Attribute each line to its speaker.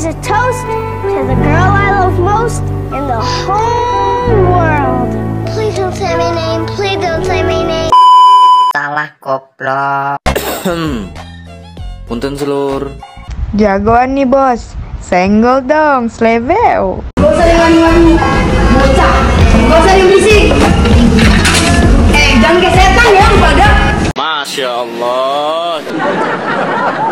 Speaker 1: to toast to the girl I love most in the whole world. Please don't say my name. Please don't say my name.
Speaker 2: Salah goblok.
Speaker 3: Punten selur.
Speaker 4: Jagoan nih bos, senggol dong, slebeo.
Speaker 5: Gak usah dengan bocah Gak usah yang berisik Eh jangan kayak setan ya lu pada
Speaker 3: Masya Allah.